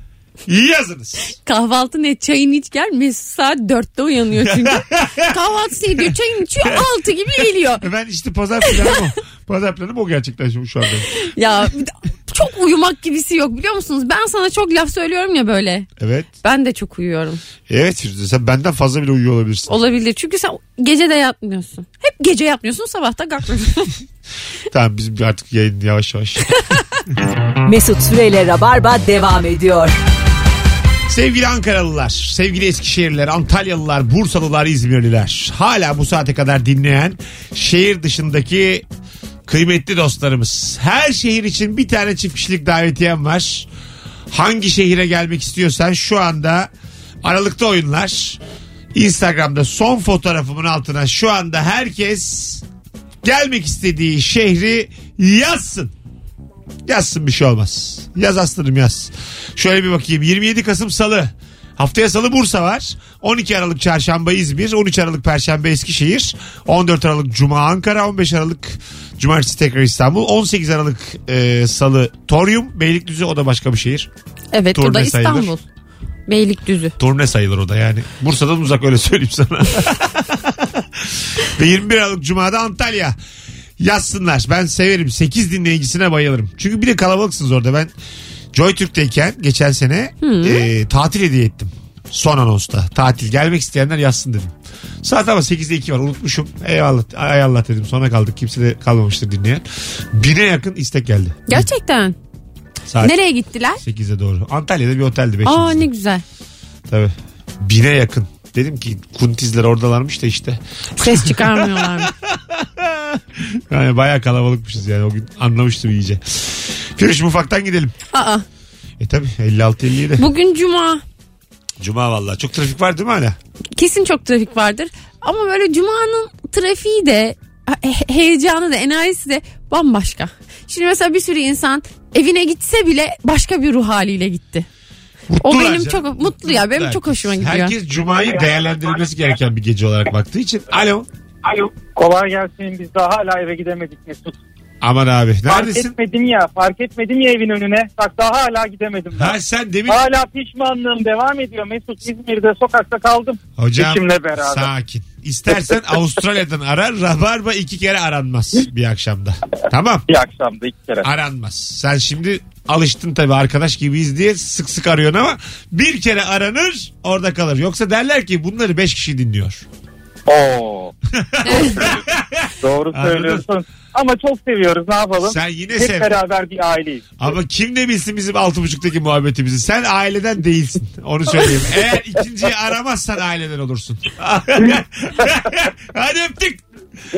C: Yazınız.
B: Kahvaltı ne çayını iç gel. Mesut saat dörtte uyanıyor çünkü. Kahvaltısını ediyor çayını içiyor altı gibi geliyor.
C: E Ben işte pazar planım o. Pazar planım o gerçekleşmiş şu anda.
B: Ya bir de- çok uyumak gibisi yok biliyor musunuz? Ben sana çok laf söylüyorum ya böyle.
C: Evet.
B: Ben de çok uyuyorum.
C: Evet Firuze sen benden fazla bile uyuyor olabilirsin.
B: Olabilir. Çünkü sen gece de yatmıyorsun. Hep gece yatmıyorsun sabah da kalkmıyorsun.
C: Tamam bizim artık yayın yavaş yavaş.
A: Mesut Süreyle Rabarba devam ediyor.
C: Sevgili Ankaralılar, sevgili Eskişehirliler, Antalyalılar, Bursalılar, İzmirliler. Hala bu saate kadar dinleyen şehir dışındaki kıymetli dostlarımız. Her şehir için bir tane çift kişilik davetiyem var. Hangi şehire gelmek istiyorsan şu anda Aralıkta oyunlar. Instagram'da son fotoğrafımın altına şu anda herkes gelmek istediği şehri yazsın. Yazsın bir şey olmaz. Yaz aslanım yaz. Şöyle bir bakayım. 27 Kasım Salı. Haftaya Salı Bursa var. 12 Aralık Çarşamba İzmir. 13 Aralık Perşembe Eskişehir. 14 Aralık Cuma Ankara. 15 Aralık Cumartesi tekrar İstanbul. 18 Aralık e, Salı Torium. Beylikdüzü o da başka bir şehir.
B: evet o da
C: Turne sayılır.
B: İstanbul. Beylikdüzü.
C: Turne sayılır o da yani. Bursa'dan uzak öyle söyleyeyim sana. Ve 21 Aralık Cuma'da Antalya. Yazsınlar. Ben severim. 8 dinleyicisine bayılırım. Çünkü bir de kalabalıksınız orada. Ben JoyTürk'teyken geçen sene e, tatil hediye ettim. Son anonsta. Tatil. Gelmek isteyenler yazsın dedim. Saat ama 8'de 2 var. Unutmuşum. Eyvallah. Ay Allah dedim. Sonra kaldık. Kimse de kalmamıştır dinleyen. Bine yakın istek geldi.
B: Gerçekten.
C: Saat
B: Nereye gittiler?
C: 8'e doğru. Antalya'da bir otelde. beş
B: Aa
C: yıldızlı.
B: ne güzel.
C: Tabii. Bine yakın. Dedim ki kuntizler oradalarmış da işte.
B: Ses çıkarmıyorlar.
C: Yani bayağı kalabalıkmışız yani o gün anlamıştım iyice. Firuş mufaktan gidelim.
B: Aa,
C: E tabi 56-57.
B: bugün cuma.
C: Cuma vallahi çok trafik var değil mi hala?
B: Kesin çok trafik vardır. Ama böyle cumanın trafiği de he- heyecanı da enerjisi de bambaşka. Şimdi mesela bir sürü insan evine gitse bile başka bir ruh haliyle gitti. o
C: Mutlular
B: benim
C: canım.
B: çok mutlu ya benim
C: Herkes-
B: çok hoşuma gidiyor.
C: Herkes Cuma'yı değerlendirilmesi gereken bir gece olarak baktığı için. Alo.
P: Alo.
M: Kolay gelsin biz daha hala eve gidemedik Mesut.
C: Aman abi
M: Fark
C: neredesin?
M: etmedim ya fark etmedim ya evin önüne. Bak daha hala gidemedim ben.
C: Ha sen demin
M: Hala pişmanlığım devam ediyor Mesut İzmir'de sokakta kaldım.
C: Hocam
M: Eşimle beraber.
C: sakin. İstersen Avustralya'dan arar. Rabarba iki kere aranmaz bir akşamda. Tamam.
N: Bir akşamda iki kere.
C: Aranmaz. Sen şimdi alıştın tabii arkadaş gibiyiz diye sık sık arıyorsun ama bir kere aranır orada kalır. Yoksa derler ki bunları beş kişi dinliyor.
N: Oo. Doğru söylüyorsun. Ama çok seviyoruz ne yapalım.
C: Sen yine
N: Hep
C: sev.
N: beraber bir aileyiz.
C: Ama kim ne bilsin bizim altı buçuktaki muhabbetimizi. Sen aileden değilsin. Onu söyleyeyim. Eğer ikinciyi aramazsan aileden olursun. Hadi öptük.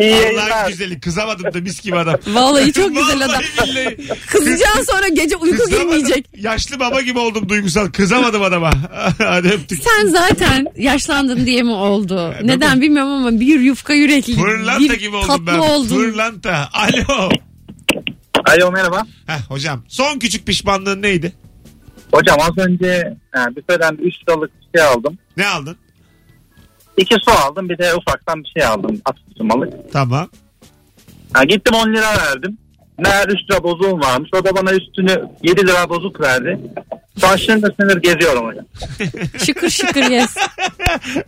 N: İyi
C: Allah'ın güzeli. Kızamadım da mis gibi adam.
B: Vallahi çok güzel adam.
C: Vallahi billahi.
B: Kızacağın sonra gece uyku
C: Kızamadım.
B: girmeyecek.
C: Yaşlı baba gibi oldum duygusal. Kızamadım adama. Hadi öptük.
B: Sen zaten yaşlandın diye mi oldu? Neden bilmiyorum ama bir yufka yürekli,
C: Fırlanta
B: bir
C: gibi oldum
B: tatlı
C: ben.
B: oldun.
C: Fırlanta. Alo.
N: Alo merhaba.
C: Heh, hocam son küçük pişmanlığın neydi?
N: Hocam az önce e, büfeden 3 liralık bir şey aldım.
C: Ne aldın?
N: İki su aldım bir de ufaktan bir şey aldım. Atıştırmalık.
C: Tamam.
N: Ha, gittim 10 lira verdim. Meğer 3 lira bozuğum varmış. O da bana üstünü 7 lira bozuk verdi. Şu an şırınga sınır geziyorum hocam.
B: Şıkır şıkır yes.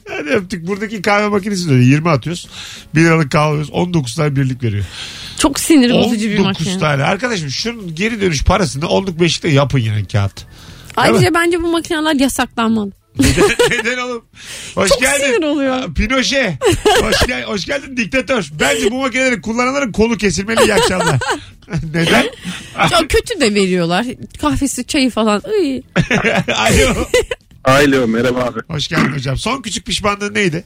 C: Hadi öptük. Buradaki kahve makinesi de öyle. 20 atıyoruz. 1 liralık kahve alıyoruz. 19 tane birlik veriyor.
B: Çok sinir bozucu bir
C: 19
B: makine.
C: tane. Arkadaşım şunun geri dönüş parasını 10'luk 5'likte yapın yani kağıt.
B: Ayrıca bence bu makineler yasaklanmalı.
C: Neden oğlum? Hoş
B: Çok
C: geldin.
B: sinir oluyor.
C: Pinochet. Hoş, gel hoş geldin diktatör. Bence bu makineleri kullananların kolu kesilmeli iyi akşamlar. Neden?
B: Çok kötü de veriyorlar. Kahvesi, çayı falan. Iy.
C: Alo.
Q: Alo merhaba abi.
C: Hoş geldin hocam. Son küçük pişmanlığın neydi?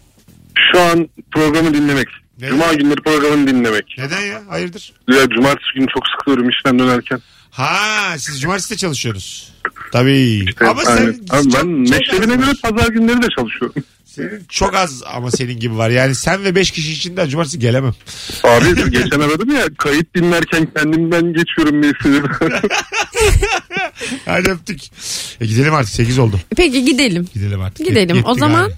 Q: Şu an programı dinlemek. Cuma günleri programını dinlemek.
C: Neden ya? Hayırdır?
Q: Ya cumartesi günü çok sıkılıyorum işten dönerken.
C: Ha siz cumartesi de çalışıyoruz. Tabii.
Q: İşte,
C: Ama sen
Q: aynen. Abi ben
C: çok
Q: meşrebine göre pazar günleri de çalışıyorum.
C: Senin çok az ama senin gibi var. Yani sen ve 5 kişi içinde cumartesi gelemem.
Q: Abi geçen aradım ya kayıt dinlerken kendimden geçiyorum bir sinirden.
C: Hadi öptük. E gidelim artık 8 oldu.
B: Peki gidelim.
C: Gidelim artık.
B: Gidelim.
C: Yet-
B: O
C: yetti
B: zaman
C: galiba.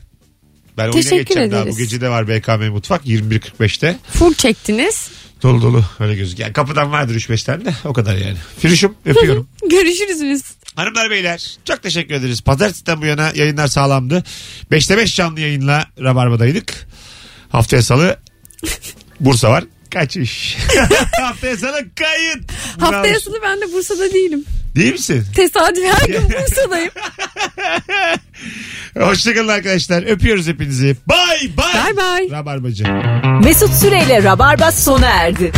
C: Ben oyuna
B: teşekkür
C: geçeceğim daha. Bu
B: ederiz.
C: gece de var BKM Mutfak 21.45'te.
B: full çektiniz.
C: Dolu dolu öyle gözüküyor. Yani kapıdan vardır 3-5 tane de o kadar yani. Firuşum öpüyorum.
B: Görüşürüz biz.
C: Hanımlar beyler çok teşekkür ederiz. Pazartesiden bu yana yayınlar sağlamdı. 5'te 5 canlı yayınla Rabarba'daydık. Haftaya salı Bursa var. Kaçış. Haftaya salı kayıt.
B: Haftaya
C: Bravo.
B: salı ben de Bursa'da değilim.
C: Değil misin?
B: Tesadüf her gün Bursa'dayım.
C: Hoşçakalın arkadaşlar. Öpüyoruz hepinizi. Bay bay.
A: Bay bay.
C: Rabarbacı.
A: Mesut Süreyle Rabarba sona erdi.